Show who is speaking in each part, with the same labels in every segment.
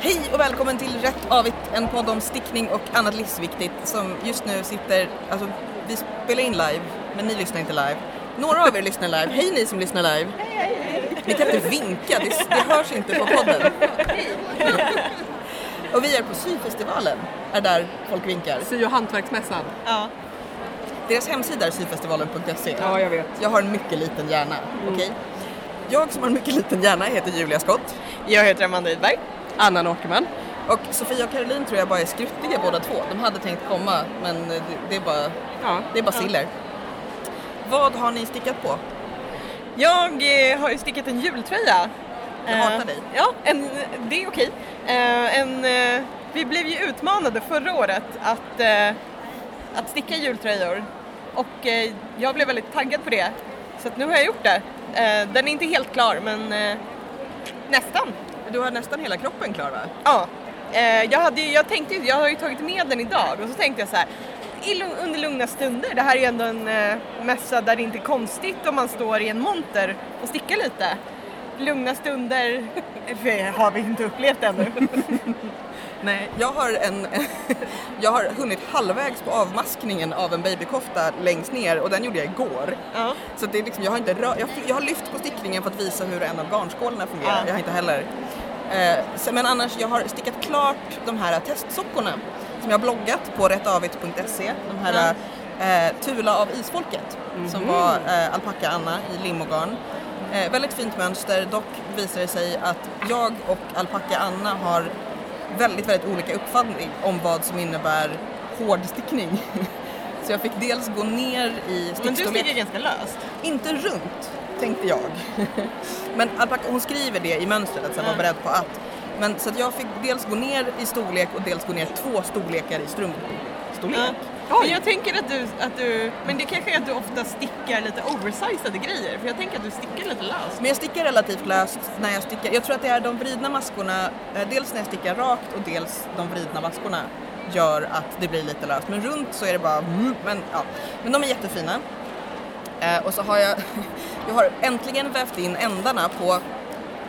Speaker 1: Hej och välkommen till Rätt Avigt, en podd om stickning och annat livsviktigt som just nu sitter, alltså vi spelar in live, men ni lyssnar inte live. Några av er lyssnar live. Hej ni som lyssnar live! Ni kan inte vinka, det, det hörs inte på podden. Och vi är på syfestivalen, är där folk vinkar.
Speaker 2: Sy och hantverksmässan.
Speaker 3: Ja.
Speaker 1: Deras hemsida är syfestivalen.se.
Speaker 2: Ja, jag vet. Mm.
Speaker 1: Jag har en mycket liten hjärna, okej? Jag som har en mycket liten hjärna heter Julia Skott.
Speaker 3: Jag heter Amanda Rydberg.
Speaker 2: Anna Åkerman.
Speaker 1: Och Sofia och Caroline tror jag bara är skruttiga båda två. De hade tänkt komma men det, det är bara,
Speaker 2: Ja.
Speaker 1: det är bara siller. Vad har ni stickat på?
Speaker 3: Jag eh, har ju stickat en jultröja.
Speaker 1: Jag
Speaker 3: Eh,
Speaker 1: hatar dig.
Speaker 3: Ja, en, det är okej. Eh, en, eh, vi blev ju utmanade förra året att, eh, att sticka jultröjor och eh, jag blev väldigt taggad på det. Så att nu har jag gjort det. Eh, den är inte helt klar men eh, nästan.
Speaker 1: Du har nästan hela kroppen klar va?
Speaker 3: Ja, eh, jag, hade ju, jag tänkte ju, jag har ju tagit med den idag och så tänkte jag så här, i, lugn- under lugna stunder, det här är ju ändå en eh, mässa där det inte är konstigt om man står i en monter och stickar lite. Lugna stunder det har vi inte upplevt ännu.
Speaker 1: Nej. Jag har, en, jag har hunnit halvvägs på avmaskningen av en babykofta längst ner och den gjorde jag igår.
Speaker 3: ja.
Speaker 1: Så det är liksom, jag, har inte rör, jag, jag har lyft på stickningen för att visa hur en av garnskålarna fungerar.
Speaker 3: Ja.
Speaker 1: Jag har inte heller. Eh, så- men annars, jag har stickat klart de här testsockorna som jag har bloggat på rättavigt.se. De här eh, Tula av isfolket
Speaker 3: Mhm.
Speaker 1: som var eh, alpacka Anna i limogarn. Eh, väldigt fint mönster, dock visar det sig att jag och alpacka Anna har väldigt, väldigt olika uppfattning om vad som innebär hård stickning. Så jag fick dels gå ner i
Speaker 3: Men du
Speaker 1: stickstorlek
Speaker 3: sticker ganska löst.
Speaker 1: inte runt, tänkte jag. Men alpaka, hon skriver det i mönstret, att jag var
Speaker 3: Mm.
Speaker 1: beredd på att. Men så att jag fick dels gå ner i storlek och dels gå ner två storlekar i strumpstorlek.
Speaker 3: Ja. Men jag tänker att du, att du, men det kanske är att du ofta stickar lite oversizade grejer för jag tänker att du stickar lite löst.
Speaker 1: Men jag stickar relativt löst när jag stickar. Jag tror att det är de vridna maskorna, eh, dels när jag stickar rakt och dels de vridna maskorna gör att det blir lite löst. Men runt så är det bara mm, men ja. Men de är jättefina. Eh, och så har jag, jag har äntligen vävt in ändarna på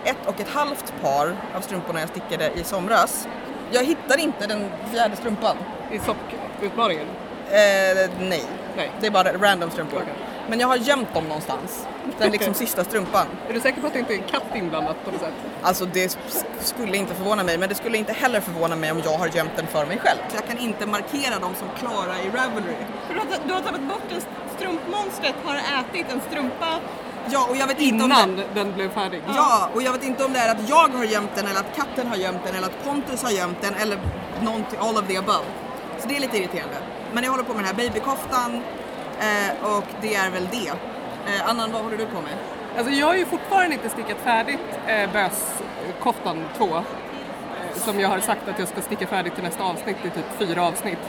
Speaker 1: ett och ett halvt par av strumporna jag stickade i somras. Jag hittar inte den fjärde strumpan.
Speaker 2: I sockutmaningen.
Speaker 1: Eh, nej.
Speaker 2: Nej.
Speaker 1: Det är bara random strumpor.
Speaker 2: Okej.
Speaker 1: Men jag har gömt dem någonstans. Den liksom sista strumpan.
Speaker 2: Är du säker på att det inte är en katt inblandat på något sätt?
Speaker 1: Alltså det s- skulle inte förvåna mig, men det skulle inte heller förvåna mig om jag har gömt den för mig själv. Jag kan inte markera dem som klara i Ravelry.
Speaker 3: För du har, du har tagit bort en strumpmonstret, har ätit en strumpa
Speaker 1: Ja, och jag vet inte om
Speaker 2: Innan
Speaker 1: det...
Speaker 2: den blev färdig.
Speaker 1: Ja, och jag vet inte om det är att jag har gömt den eller att katten har gömt den eller att Pontus har gömt den eller någonting, all of the above. Så det är lite irriterande. Men jag håller på med den här babykoftan eh, och det är väl det. Eh, Annan, vad håller du på med?
Speaker 2: Alltså jag har ju fortfarande inte stickat färdigt eh, böskoftan 2. Eh, som jag har sagt att jag ska sticka färdigt till nästa avsnitt. Det är typ fyra avsnitt.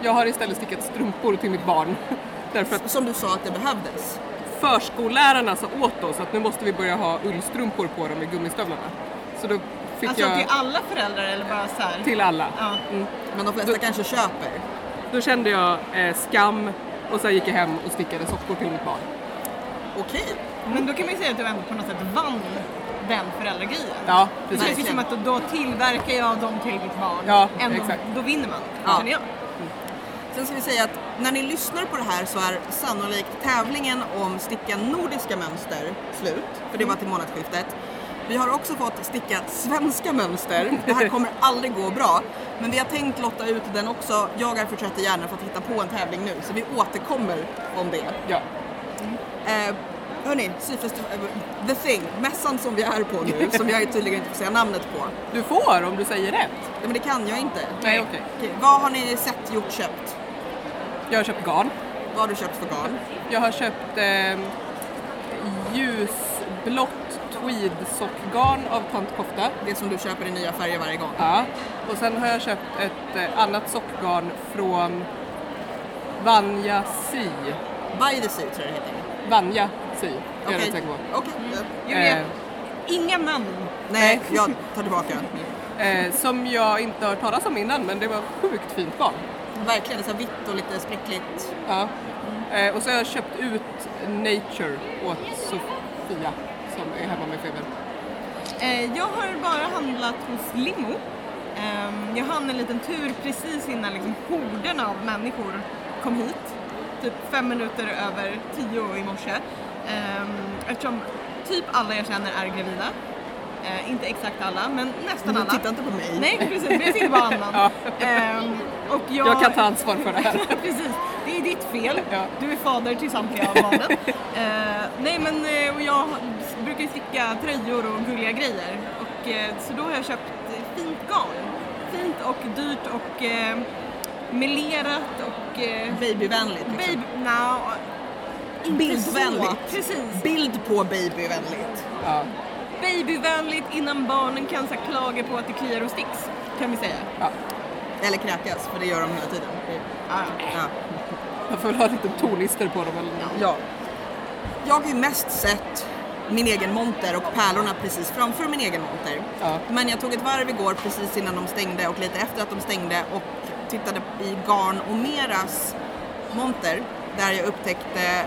Speaker 2: Jag har istället stickat strumpor till mitt barn. Därför att
Speaker 1: Som du sa att det behövdes.
Speaker 2: förskollärarna sa åt oss att nu måste vi börja ha ullstrumpor på dem i gummistövlarna. Så då fick
Speaker 3: Alltså
Speaker 2: jag
Speaker 3: till alla föräldrar eller bara så här?
Speaker 2: till alla.
Speaker 3: Ja.
Speaker 1: Men de flesta kanske köper.
Speaker 2: Då kände jag eh, skam och sen gick jag hem och stickade sockor till mitt barn.
Speaker 1: Okej.
Speaker 3: Men då kan man ju säga att du ändå på något sätt vann den föräldragrejen.
Speaker 2: Ja,
Speaker 3: Det
Speaker 2: precis.
Speaker 3: känns ju som att då, då tillverkar jag dem till mitt barn.
Speaker 2: Ja,
Speaker 3: ändå,
Speaker 2: exakt.
Speaker 3: Då vinner man,
Speaker 1: Ja.
Speaker 3: känner jag.
Speaker 1: Sen ska vi säga att när ni lyssnar på det här så är sannolikt tävlingen om sticka nordiska mönster slut, för det var till månadsskiftet. Vi har också fått sticka svenska mönster. Det här kommer aldrig gå bra. Men vi har tänkt lotta ut den också. Jag är för trött i hjärnan för att hitta på en tävling nu, så vi återkommer om det.
Speaker 2: Ja.
Speaker 1: Eh, hörni, syfestival... The thing, mässan som vi är på nu, som jag tydligen inte får säga namnet på.
Speaker 2: Du får om du säger rätt.
Speaker 1: Nej, men det kan jag inte.
Speaker 2: Nej, okej.
Speaker 1: Okej, vad har ni sett, gjort, köpt?
Speaker 2: Jag har köpt garn.
Speaker 1: Vad har du köpt för garn?
Speaker 2: Jag har köpt eh, ljusblått tweedsockgarn av tantkofta.
Speaker 1: Det som du köper i nya färger varje gång.
Speaker 2: Ja. Och sen har jag köpt ett eh, annat sockgarn från Vanja Sy.
Speaker 1: By the sea tror jag det heter.
Speaker 2: Vanja Sy, är jag
Speaker 1: Okej.
Speaker 2: rätt säker på.
Speaker 1: Okej.
Speaker 3: Julia,
Speaker 2: Eh,
Speaker 3: inga namn.
Speaker 1: Nej, jag tar tillbaka.
Speaker 2: Eh, som jag inte har hört talas om innan, men det var sjukt fint garn.
Speaker 1: Verkligen, det är så här vitt och lite spräckligt.
Speaker 2: Ja. Eh, och så har jag köpt ut Nature åt Sofia som är hemma med feber.
Speaker 3: Eh, jag har bara handlat hos Limo Ehm, Jag hann en liten tur precis innan liksom horden av människor kom hit. Typ fem minuter över tio i morse. Ehm, Eftersom typ alla jag känner är gravida. Eh, inte exakt alla, men nästan alla.
Speaker 1: Titta inte på mig.
Speaker 3: Nej, precis. Men jag sitter på annan. Ehm, och jag,
Speaker 2: Jag kan ta ansvar för det här.
Speaker 3: precis. Det är ditt fel.
Speaker 2: Ja.
Speaker 3: Du är fader till samtliga av barnen. Eh, nej men eh, och jag brukar ju sticka tröjor och gulliga grejer. Och, eh, så då har jag köpt fint garn. Fint och dyrt och eh, melerat och eh,
Speaker 1: Babyvänligt. Liksom.
Speaker 3: baby... No,
Speaker 1: Bildvänligt.
Speaker 3: Precis.
Speaker 1: Bild på babyvänligt.
Speaker 2: Ja,
Speaker 3: Babyvänligt innan barnen kan så här, klaga på att det kliar och sticks. Kan vi säga.
Speaker 2: ja.
Speaker 1: Eller kräkas, för det gör de hela tiden.
Speaker 3: Ja.
Speaker 1: Ja.
Speaker 2: Jag får väl ha lite torlister på dem eller något.
Speaker 1: Ja. Jag har ju mest sett min egen monter och pärlorna precis framför min egen monter.
Speaker 2: Ja.
Speaker 1: Men jag tog ett varv igår precis innan de stängde och lite efter att de stängde och tittade i Garn och Meras monter där jag upptäckte,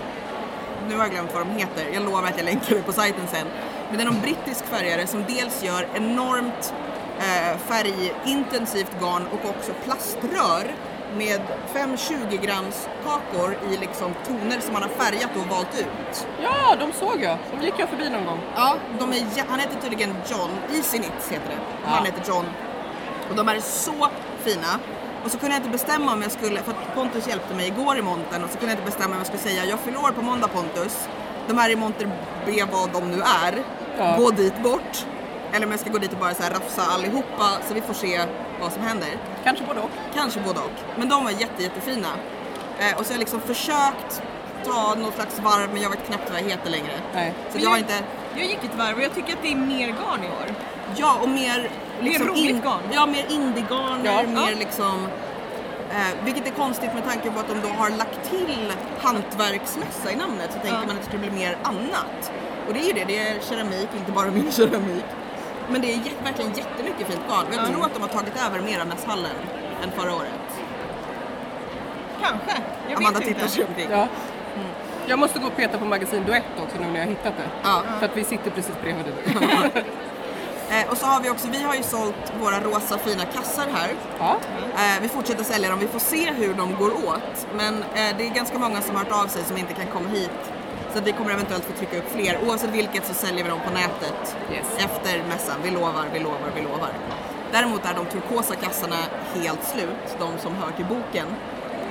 Speaker 1: nu har jag glömt vad de heter, jag lovar att jag länkar det på sajten sen. Men det är någon brittisk färgare som dels gör enormt eh, färgintensivt garn och också plaströr med fem 20 grams kakor i liksom toner som man har färgat och valt ut.
Speaker 2: Ja, de såg jag. De gick jag förbi någon gång.
Speaker 1: Ja, de är, jä- han heter tydligen John, Easy Knits heter det. Han
Speaker 2: Ja.
Speaker 1: heter John. Och de här är så fina. Och så kunde jag inte bestämma om jag skulle, för att Pontus hjälpte mig igår i montern och så kunde jag inte bestämma om jag skulle säga jag fyller år på måndag Pontus. De här i monter B vad de nu är.
Speaker 2: Ja.
Speaker 1: Gå dit bort. Eller om jag ska gå dit och bara så här rafsa allihopa så vi får se vad som händer.
Speaker 2: Kanske både och.
Speaker 1: Kanske både och. Men de var jätte, jättefina. Eh, och så har jag liksom försökt ta något slags varv men jag vet knappt vad jag heter längre.
Speaker 2: Nej.
Speaker 1: Så att jag har inte
Speaker 3: Jag gick ett varv och jag tycker att det är mer garn i år.
Speaker 1: Ja, och mer... Liksom
Speaker 3: roligt garn.
Speaker 1: Ja, mer indiegarner,
Speaker 2: Ja.
Speaker 1: mer
Speaker 3: Ja.
Speaker 1: liksom... Eh, vilket är konstigt med tanke på att de då har lagt till hantverksmässa i namnet så tänker
Speaker 3: Ja.
Speaker 1: man att det skulle bli mer annat. Och det är ju det, det är keramik, inte bara min keramik. Men det är jä- verkligen jättemycket fint garn. Och Jag
Speaker 3: Ja.
Speaker 1: tror att de har tagit över Meranäshallen än förra året.
Speaker 3: Kanske. Jag
Speaker 1: Amanda
Speaker 3: vet
Speaker 1: tittar
Speaker 3: inte.
Speaker 1: sig omkring.
Speaker 2: Ja. Mm. Jag måste gå och peta på magasin Duett också nu när jag har hittat det.
Speaker 1: Ja.
Speaker 2: För att vi sitter precis bredvid det.
Speaker 1: Eh, och så har vi också, vi har ju sålt våra rosa fina kassar här.
Speaker 2: Ja.
Speaker 1: Eh, vi fortsätter sälja dem, vi får se hur de går åt. Men eh, det är ganska många som har hört av sig som inte kan komma hit. Så att vi kommer eventuellt få trycka upp fler. Oavsett vilket så säljer vi dem på nätet
Speaker 2: Yes.
Speaker 1: efter mässan. Vi lovar, vi lovar, vi lovar. Däremot är de turkosa kassarna helt slut, de som hör till boken.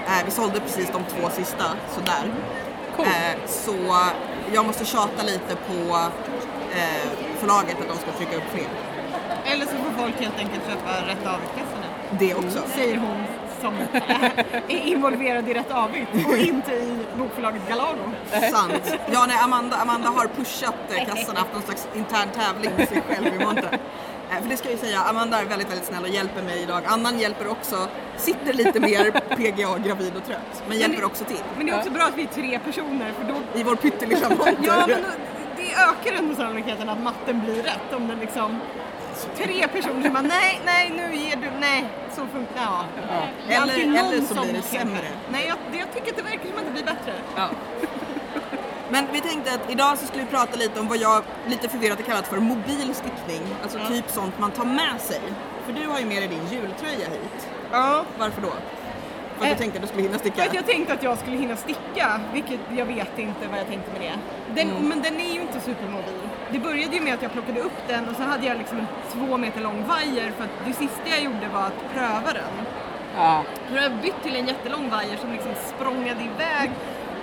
Speaker 1: Eh, vi sålde precis de två sista, sådär.
Speaker 2: Cool.
Speaker 1: Eh, så jag måste tjata lite på eh, förlaget att de ska trycka upp fler.
Speaker 3: Eller så får folk helt enkelt köpa rätt avigt-kassorna.
Speaker 1: Det också.
Speaker 2: Mm.
Speaker 3: Säger hon som är involverad i Rätt Avigt och inte i bokförlaget Galago.
Speaker 1: Sant. Ja, nej, Amanda, Amanda har pushat eh, kassan, haft någon slags intern tävling med sig själv i monter. Eh, För det ska jag ju säga, Amanda är väldigt, väldigt snäll och hjälper mig idag. Annan hjälper också, sitter lite mer PGA, gravid och trött, men hjälper också till.
Speaker 3: Men det är också bra att vi är tre personer för då...
Speaker 1: I vår pyttelilla monter.
Speaker 3: Ja, men då, det ökar ändå sannolikheten att matten blir rätt om den liksom... Tre personer som bara nej, nej, nu ger du, nej, så funkar ja. det. är
Speaker 1: Eller-
Speaker 3: alltid någon
Speaker 1: eller så blir det
Speaker 3: som-
Speaker 1: sämre.
Speaker 3: Nej, jag, det- jag tycker att det verkar som att det blir bättre.
Speaker 1: Ja. Men vi tänkte att idag så skulle vi prata lite om vad jag lite förvirrat har kallat för mobil stickning. Alltså typ sånt man tar med sig. För du har ju med dig din jultröja hit.
Speaker 3: Ja.
Speaker 1: Varför då? För att du
Speaker 3: Eh,
Speaker 1: tänkte att du skulle hinna
Speaker 3: För
Speaker 1: sticka?
Speaker 3: att jag tänkte att jag skulle hinna sticka, vilket jag vet inte vad jag tänkte med det. Den,
Speaker 1: Mm.
Speaker 3: Men den är ju inte supermobil. Det började ju med att jag plockade upp den och så hade jag liksom en två meter lång vajer för att det sista jag gjorde var att pröva den.
Speaker 2: Ja.
Speaker 3: Så då har jag bytt till en jättelång vajer som liksom språngade iväg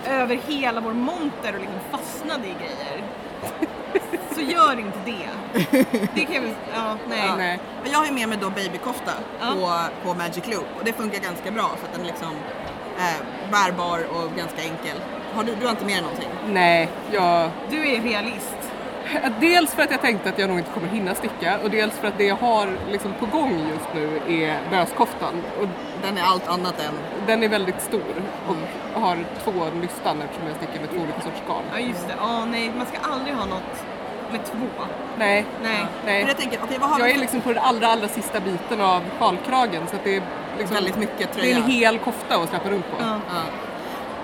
Speaker 3: över hela vår monter och liksom fastnade i grejer. Så gör inte det. Det kan jag väl... Ja, nej.
Speaker 1: Ja.
Speaker 2: Nej.
Speaker 1: Men jag har ju med mig då babykofta
Speaker 3: Ja.
Speaker 1: på, på Magic Loop och det funkar ganska bra för att den är liksom eh, bärbar och ganska enkel. Har du, du har inte med dig någonting?
Speaker 2: Nej, jag...
Speaker 3: Du är realist.
Speaker 2: Dels för att jag tänkte att jag nog inte kommer hinna sticka och dels för att det jag har liksom på gång just nu är böskoftan. Och
Speaker 1: Den är allt annat än...
Speaker 2: den är väldigt stor och har två nystan eftersom jag sticker med två olika sorters garn.
Speaker 3: Ja, just det. Ja, nej. Man ska aldrig ha något med två.
Speaker 2: Nej.
Speaker 3: Nej.
Speaker 1: För
Speaker 2: Nej.
Speaker 1: jag tänker, okej vad har
Speaker 2: Jag
Speaker 1: vi
Speaker 2: är
Speaker 1: för-
Speaker 2: liksom på den allra, allra sista biten av sjalkragen så att det är liksom
Speaker 1: väldigt mycket
Speaker 2: det är
Speaker 1: tröja?
Speaker 2: en hel kofta att släppa runt på.
Speaker 3: Ja.
Speaker 1: Ja.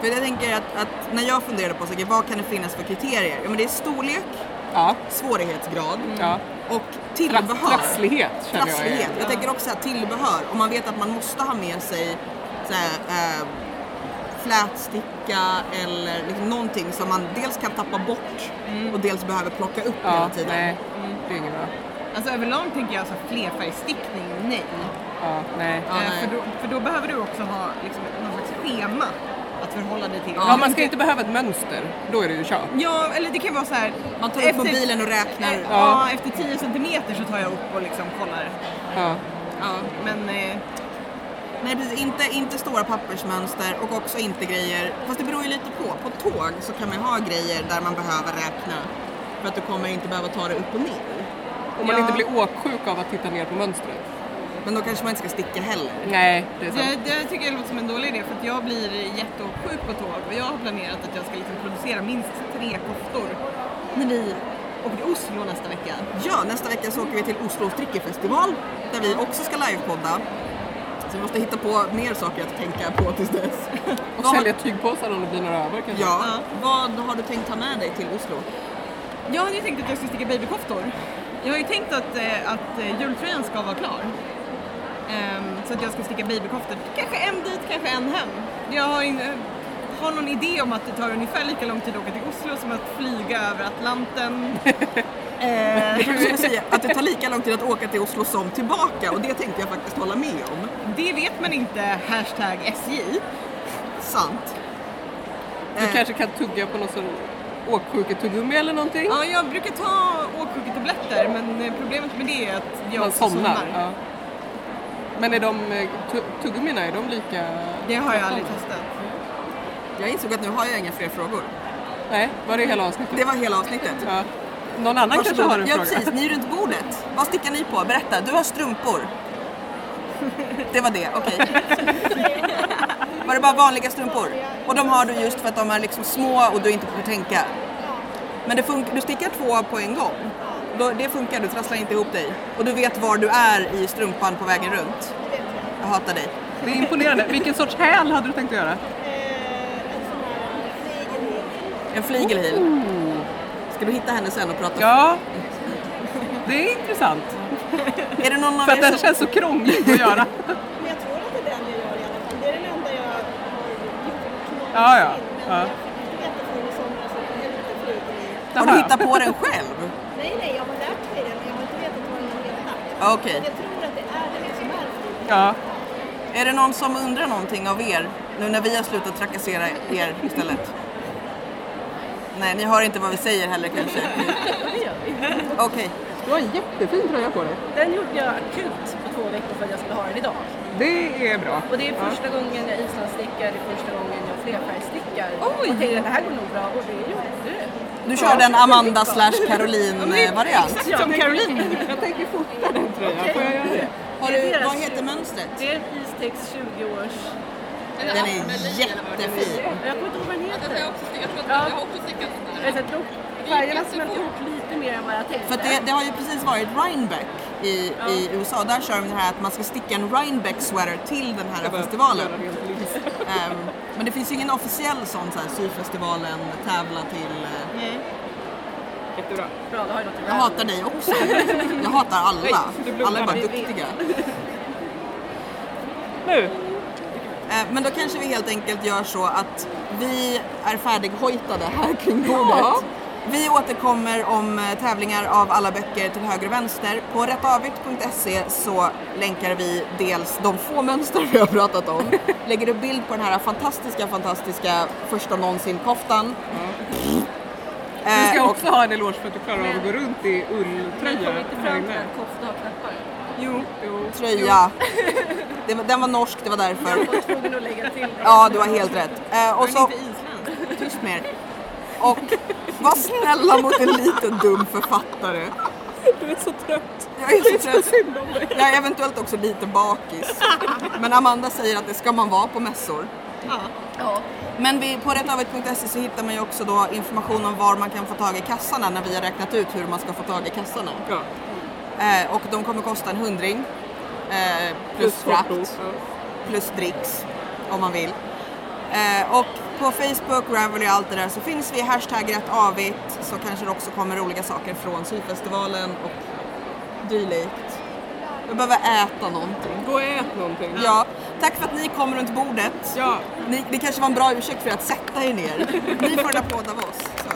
Speaker 1: För jag tänker att, att när jag funderade på så, okej, vad kan det finnas för kriterier? Ja, men det är storlek,
Speaker 2: Ja,
Speaker 1: svårighetsgrad
Speaker 2: ja.
Speaker 1: och
Speaker 2: Trass-
Speaker 1: tillbehör.
Speaker 2: Trasslighet känner jag.
Speaker 1: Trasslighet.
Speaker 2: är-
Speaker 1: Jag tänker också så här, tillbehör. Om man vet att man måste ha med sig så här, eh, flätsticka eller liksom någonting som man dels kan tappa bort och dels behöver plocka upp hela
Speaker 2: Mm. Ja,
Speaker 1: tiden. Mm.
Speaker 2: nej. Det är inget bra.
Speaker 3: Alltså överlag tänker jag alltså flerfärgstickning, nej.
Speaker 2: Ja, nej.
Speaker 1: Ja,
Speaker 3: Eh,
Speaker 1: nej.
Speaker 3: För, då, för då behöver du också ha liksom, någon slags schema att förhålla dig till. Alltså,
Speaker 1: Ja,
Speaker 2: Ja, man ska inte behöva ett mönster. Då är det ju kört.
Speaker 3: Ja, eller det kan vara så här.
Speaker 1: Man tar upp
Speaker 3: efter-
Speaker 1: mobilen och räknar.
Speaker 3: Eh,
Speaker 1: Ja.
Speaker 3: Ja, efter 10 centimeter så tar jag upp och liksom kollar.
Speaker 2: Ja.
Speaker 3: Ja, men eh,
Speaker 1: Nej precis, inte, inte stora pappersmönster och också inte grejer. Fast det beror ju lite på. På tåg så kan man ha grejer där man behöver räkna. För att du kommer inte behöva ta det upp och ner.
Speaker 2: Om man
Speaker 3: Ja.
Speaker 2: inte blir åksjuk av att titta ner på mönstret.
Speaker 1: Men då kanske man inte ska sticka heller.
Speaker 2: Nej, det är sant.
Speaker 3: det, det tycker jag låter som en dålig idé för att jag blir jättesjuk på tåg och jag har planerat att jag ska liksom producera minst tre koftor när vi åker till Oslo nästa vecka.
Speaker 1: Ja, nästa vecka så åker vi till Oslo Strickefestival där vi också ska livepodda. Så vi måste hitta på mer saker att tänka på tills dess.
Speaker 2: Och
Speaker 1: Vad har-
Speaker 2: sälja tygpåsar om det blir några över kanske.
Speaker 1: Ja, vad har du tänkt ta med dig till Oslo?
Speaker 3: Jag hade ju tänkt att jag skulle sticka babykoftor. Jag har ju tänkt att, eh, att eh, jultröjan ska vara klar. Ehm, så att jag ska sticka babykoftor. Kanske en dit, kanske en hem. Jag har, in, har någon idé om att det tar ungefär lika lång tid att åka till Oslo som att flyga över Atlanten. Eh,
Speaker 1: Jag trodde du skulle säga att det tar lika lång tid att åka till Oslo som tillbaka och det tänkte jag faktiskt hålla med om.
Speaker 3: Det vet man inte, hashtag SJ.
Speaker 1: Sant.
Speaker 2: Du kanske kan tugga på någon sån åksjuketuggummi eller någonting.
Speaker 3: Ja, jag brukar ta åksjuketabletter men eh, problemet med det är att jag
Speaker 2: Man
Speaker 3: också
Speaker 2: somnar. Ja. Men är de eh, tu- tuggummina, är de lika...
Speaker 3: Det har jag aldrig testat.
Speaker 1: Jag insåg att nu har jag inga fler frågor.
Speaker 2: Nej, var det hela avsnittet?
Speaker 1: Det var hela avsnittet.
Speaker 2: Ja. Någon annan kanske
Speaker 1: Varsågoda.
Speaker 2: har en
Speaker 1: ja,
Speaker 2: fråga?
Speaker 1: precis. Ni runt bordet. Vad stickar ni på? Berätta. Du har strumpor. Det var det, okej. Var det bara vanliga strumpor? Och de har du just för att de är liksom små och du inte behöver tänka. Men det funkar, du stickar två på en gång. Då, det funkar, du trasslar inte ihop dig. Och du vet var du är i strumpan på vägen runt. Jag hatar dig.
Speaker 2: Det är imponerande. Vilken sorts häl hade du tänkt att göra?
Speaker 1: En flygelhil. Ska du hitta henne sen och prata?
Speaker 2: Ja, det är intressant.
Speaker 1: Är det någon av
Speaker 2: För att
Speaker 1: er
Speaker 2: den
Speaker 1: som...
Speaker 2: känns så krånglig att göra.
Speaker 4: Men jag tror att det är den jag gör i alla fall. Det är den enda jag har
Speaker 2: Ja,
Speaker 4: gjort.
Speaker 2: ja.
Speaker 4: Men
Speaker 2: Ja.
Speaker 4: jag fick veta från i somras att jag inte flyger i.
Speaker 1: Har du hittat på den själv?
Speaker 4: Nej, nej, jag har lärt mig det, men jag har inte vetat vad den heter.
Speaker 1: Ja, Okej.
Speaker 4: Jag tror att det är den som är flyger.
Speaker 2: Ja.
Speaker 1: Är det någon som undrar någonting av er nu när vi har slutat trakassera er istället? Nej, ni hör inte vad vi säger heller kanske. Okej,
Speaker 2: Du har en jättefin tröja på dig.
Speaker 5: Den gjorde jag akut för två veckor för att jag skulle ha den idag.
Speaker 2: Det är bra.
Speaker 5: Och det är första gången jag islandsstickar, det är första gången jag flerfärgstickar.
Speaker 2: Oj!
Speaker 5: Och tänkte att det här går nog bra och det gjorde det.
Speaker 1: du kör den Amanda slash eh, Caroline-variant.
Speaker 3: Exakt som Caroline.
Speaker 2: Jag tänker fota den tröjan. Får jag göra det?
Speaker 1: Har du, vad heter mönstret?
Speaker 5: Det är en Istex 20-års...
Speaker 1: Den är jättefin.
Speaker 5: Jag kommer inte ihåg vad den heter. Jag har också stickat. Jag har också stickat. Färgerna smälte ihop lite mer än vad jag tänkte.
Speaker 1: För att det, det har ju precis varit Rhinebeck i, i USA. Där kör de det här att man ska sticka en Rhinebeck-sweater till den här festivalen. Ehm, men det finns ju ingen officiell sån så här, syfestivalen-tävlan till... eh,
Speaker 2: Jättebra.
Speaker 5: Bra, då har jag något i
Speaker 1: Jag hatar dig också. Jag hatar alla. Alla är bara duktiga.
Speaker 2: Nu.
Speaker 1: Eh, Men då kanske vi helt enkelt gör så att vi är färdighojtade här kring bordet.
Speaker 2: Ja.
Speaker 1: Vi återkommer om eh, tävlingar av alla böcker till höger och vänster. På rättavigt.se så länkar vi dels de få mönster vi har pratat om, lägger upp bild på den här fantastiska, fantastiska första någonsin koftan.
Speaker 2: Du Mm. ska
Speaker 1: Eh, och-
Speaker 2: också ha en eloge för att du klarar av att gå runt i ulltröja
Speaker 5: Kom inte
Speaker 2: här
Speaker 5: fram till
Speaker 2: inne.
Speaker 5: att kofta har knappar.
Speaker 2: Jo. jo.
Speaker 1: tröja. Det var, den var norsk, det var därför.
Speaker 5: Jag var tvungen att lägga till.
Speaker 1: Ja, du har helt rätt. Eh, och
Speaker 3: Men
Speaker 1: så,
Speaker 3: inte isländsk.
Speaker 1: tyst med er. Och var snälla mot en liten dum författare.
Speaker 2: Du är så trött.
Speaker 1: Jag är så trött.
Speaker 2: Synd om dig.
Speaker 1: Jag är eventuellt också lite bakis. Men Amanda säger att det ska man vara på mässor.
Speaker 3: Ja.
Speaker 5: Ja.
Speaker 1: Men vi, på rättavigt.se E så hittar man ju också då information om var man kan få tag i kassarna när vi har räknat ut hur man ska få tag i kassarna.
Speaker 2: Ja.
Speaker 1: Eh, och de kommer kosta en hundring. Eh, plus frakt.
Speaker 2: foto.
Speaker 1: plus dricks om man vill. Eh, och på Facebook, Ravelry och allt det där så finns vi, hashtag rättavigt så kanske det också kommer olika saker från syfestivalen och dylikt. Jag behöver äta någonting.
Speaker 2: Gå och ät någonting.
Speaker 1: Ja, tack för att ni kom runt bordet.
Speaker 2: Ja.
Speaker 1: Ni, det kanske var en bra ursäkt för er att sätta er ner. Ni får en applåd av oss.